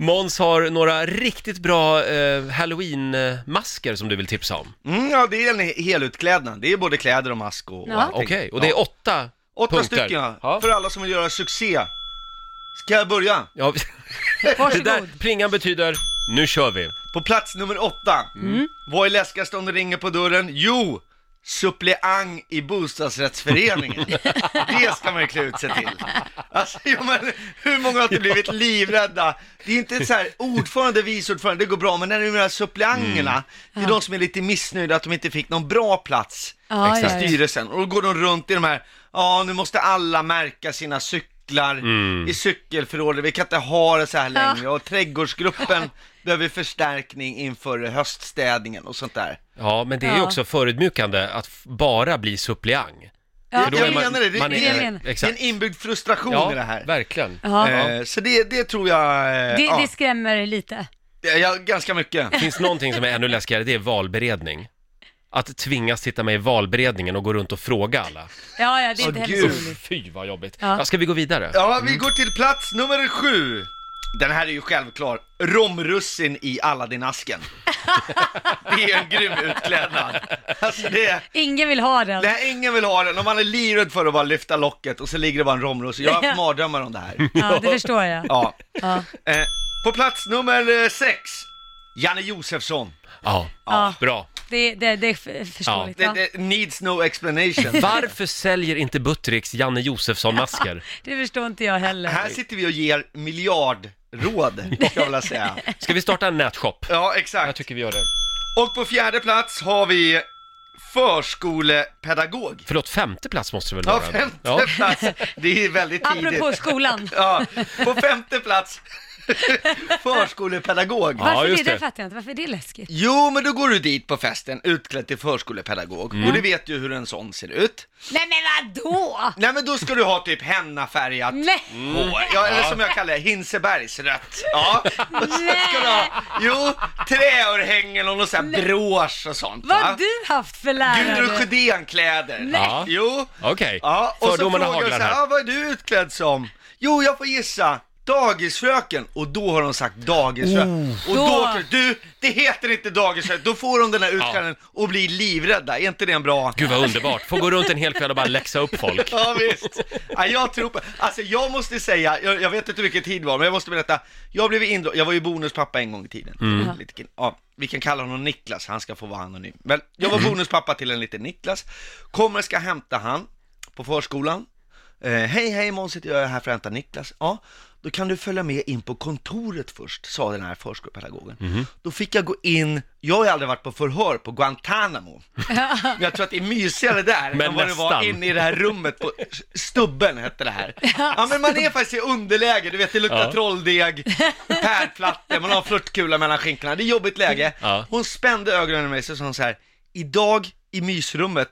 Måns har några riktigt bra eh, halloween-masker som du vill tipsa om. Mm, ja, det är en helutklädnad. Det är både kläder och mask och, Ja. och allting. Okej, och det är ja. åtta åtta punkter. stycken ja. Ja. för alla som vill göra succé. Ska jag börja? Ja, det där Varsågod. plingan betyder nu kör vi. På plats nummer åtta. Vad är läskigast om det ringer på dörren? Jo, suppleant i bostadsrättsföreningen. det ska man ju klä ut sig till. Alltså, ja, men, hur många har inte blivit livrädda? Det är inte så här, ordförande, vice ordförande, det går bra, men när det är de här suppleanterna, Mm. det är de som är lite missnöjda att de inte fick någon bra plats Ja, i ja, ja. styrelsen. Och då går de runt i de här, ja nu måste alla märka sina cyklar Mm. i cykelförrådet, vi kan inte ha det så här Ja. längre. Och trädgårdsgruppen behöver förstärkning inför höststädningen och sånt där. Ja, men det är ju Ja. också förödmjukande att f- bara bli suppleant. Ja, För då jag är man- menar det, det, man det, är- det jag menar. det är en Exakt. inbyggd frustration i det Ja, här. verkligen. Ja. Eh, så det, det tror jag, eh, Det, ja, det skrämmer lite. det- ja, ganska mycket. Finns någonting som är ännu läskigare, det är valberedning. Att tvingas sitta med i valberedningen och gå runt och fråga alla. Ja, ja, det är inte Åh, heller så gud. roligt. Fy vad jobbigt. Ja. Ja, ska vi gå vidare? Ja, vi går till plats nummer sju. Den här är ju självklar. Romrussin i Aladdin-asken. det är en grym utklädnad. Alltså det, Ingen vill ha den. Nej, ingen vill ha den. Om man är livrädd för att bara lyfta locket och så ligger det bara en romros. Jag har haft mardrömmar om det här. Ja, det förstår jag. Ja. Ja. Eh, på plats nummer eh, sex, Janne Josefsson. Ja, Ja. bra. Det, det, det är f- förståeligt. Det, Ja, det needs no explanation. Varför säljer inte Buttricks Janne Josefsson-masker? det förstår inte jag heller. Här sitter vi och ger miljardråd, ska jag vilja säga. Ska vi starta en nätshop? Ja, Jag exakt. tycker vi gör det. Och på fjärde plats har vi förskolepedagog. Förlåt, femte plats måste det väl Ja, vara? femte Ja. plats. Det är väldigt tidigt. Apropå skolan. Ja, på femte plats, förskolepedagog. Ja, Varför det? just Det det. fattar jag inte. Varför är det läskigt? Jo, men då går du dit på festen utklädd till förskolepedagog Mm. och du vet ju hur en sån ser ut. Nej, men vadå? Nej, men då ska du ha typ hennafärgat Nej! hår, ja, eller som jag kallar det, Hinsebergsrött. Ja, och så ska du ha, jo, träörhängen och någon sån här brosch och sånt. Vad va? har du haft för Gudrun lärare? Sjödén-kläder. Ja. Jo. Okej, Ja, och så fördomarna frågar du haglar så här, här. ah, vad är du utklädd som? Jo, jag får gissa. Dagisfröken och då har de sagt dagisfröken. Oh. Och då, Då- du, det heter inte dagisfröken, då får de den här utklädnaden och blir livrädda, är inte det en bra... Gud vad underbart, får gå runt en hel kväll och bara läxa upp folk. Ja visst. Ja, jag tror på, alltså jag måste säga, jag, jag vet inte vilken tid det var, men jag måste berätta. Jag blev indragen, jag var ju bonuspappa en gång i tiden. Mm. Lite kille. Ja, vi kan kalla honom Niklas, han ska få vara anonym. Men jag Mm. var bonuspappa till en liten Niklas. Kommer ska hämta han på förskolan. Eh, hej hej Måns heter jag, jag är här för att hämta Niklas. Ja, då kan du följa med in på kontoret först, sa den här förskolepedagogen. Mhm. Då fick jag gå in, jag har ju aldrig varit på förhör på Guantanamo. Men jag tror att det är mysigare där Men än vad det var nästan. inne i det här rummet på Stubben hette det här. Ja men man är faktiskt i underläge, du vet det luktar Ja. trolldeg, pärlplattor, man har flörtkula mellan skinkorna, det är jobbigt läge. Ja. Hon spände ögonen i mig så sa hon så här, idag i mysrummet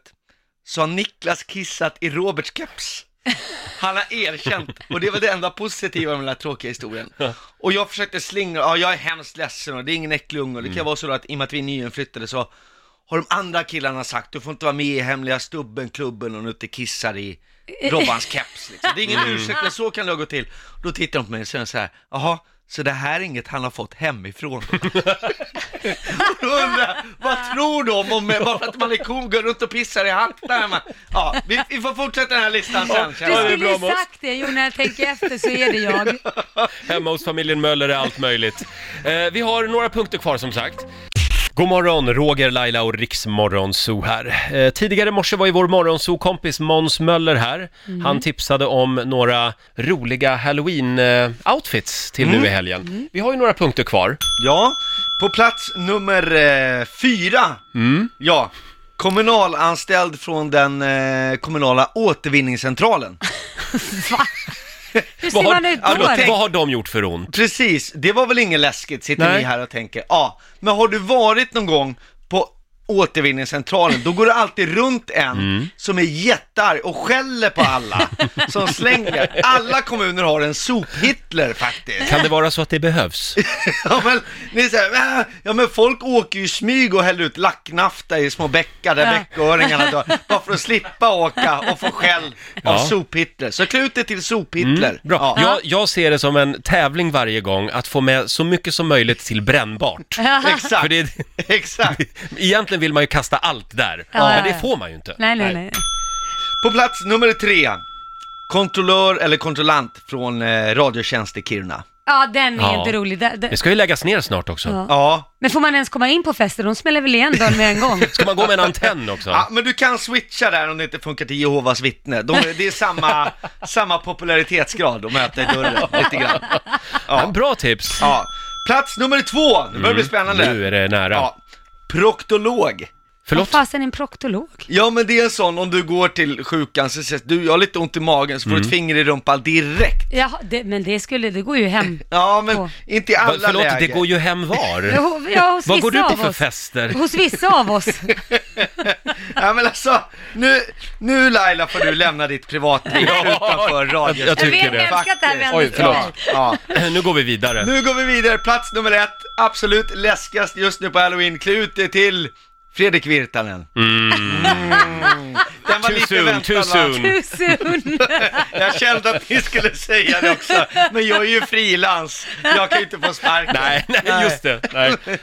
så har Niklas kissat i Roberts keps. Han har erkänt, och det var det enda positiva med den här tråkiga historien. Och jag försökte slingra, ja jag är hemskt ledsen och det är ingen äcklig unge och det kan vara så då att i och med att vi är nyinflyttade så har de andra killarna sagt, du får inte vara med i hemliga stubben, klubben och nu inte kissar i Robbans keps liksom. Det är ingen ursäkt, men så kan det ha gått till. Då tittar de på mig och säger så här, jaha, så det här är inget han har fått hemifrån? Och då undrar jag, vad tror de om mig bara för att man är cool, går runt och pissar i hattar hemma? Ja, vi, vi får fortsätta den här listan sen Du känner jag. skulle ju bra, Måns. sagt det. Jo, när jag tänker efter så är det jag. Hemma hos familjen Möller är allt möjligt. Eh, vi har några punkter kvar som sagt. God morgon, Roger, Laila och Riksmorgonzoo här. Eh, tidigare i morse var ju vår morgonzoo-kompis Måns Möller här. Mm. Han tipsade om några roliga halloween-outfits till nu i Mm. helgen. Vi har ju några punkter kvar. Ja, på plats nummer eh, fyra, ja, kommunalanställd från den eh, kommunala återvinningscentralen. Hur ser man ut Ja, då? då tänk- vad har de gjort för ont? Precis, det var väl inget läskigt sitter Nej. ni här och tänker. Ja, men har du varit någon gång på återvinningscentralen, då går det alltid runt en som är jättearg och skäller på alla som slänger. Alla kommuner har en sop-Hitler faktiskt. Kan det vara så att det behövs? Ja men, ni säger, "Äh, ja men folk åker ju i smyg och häller ut lacknafta i små bäckar där Ja. bäcköringarna dör, bara för att slippa åka och få skäll av Ja. Mm, sop-Hitler. Så klutet till sop-Hitler. Bra. Ja. Jag, jag ser det som en tävling varje gång att få med så mycket som möjligt till brännbart. Exakt, För det, exakt. egentligen vill man ju kasta allt där, Ja, men ja, det ja. får man ju inte. Nej, nej, nej. På plats nummer tre, kontrollör eller kontrollant från eh, Radiotjänst i Kiruna. Ja, den är Ja. inte rolig. Det, Det det. ska ju läggas ner snart också. Ja. Ja. Men får man ens komma in på fester? De smäller väl igen dörren med en gång? Ska man gå med en antenn också? ja, men du kan switcha där om det inte funkar till Jehovas vittne. De, det är samma, samma popularitetsgrad de möter i dörren lite grann. Ja, bra tips! Ja. Plats nummer två, nu börjar det bli spännande. Mm, Nu är det nära. Ja. Proktolog. Vad Förlåt? fasen är en proktolog? Ja men det är en sån, om du går till sjukan så säger du, jag har lite ont i magen, så får du Mm. ett finger i rumpan direkt. Ja, det, men det skulle, det går ju hem. Ja men Åh. inte i Va- alla Förlåt, läger. det går ju hem var. Jo, Ja, hos Vad vissa går du på av för oss. fester? Hos vissa av oss. Ja men alltså, nu, nu Laila får du lämna ditt privatliv Ja, utanför jag- radion. jag tycker Jag vet, det. jag älskar att det här vänder Oj, förlåt. Ja, Nu går vi ja. vidare. Nu går vi vidare, plats nummer ett, absolut läskigast just nu på halloween, klutet till Fredrik Virtanen. Den var Mm. Too lite soon, väntad, too va? soon. Too soon. Jag kände att ni skulle säga det också, men jag är ju frilans, jag kan ju inte få sparken. Nej, nej, just det. Nej.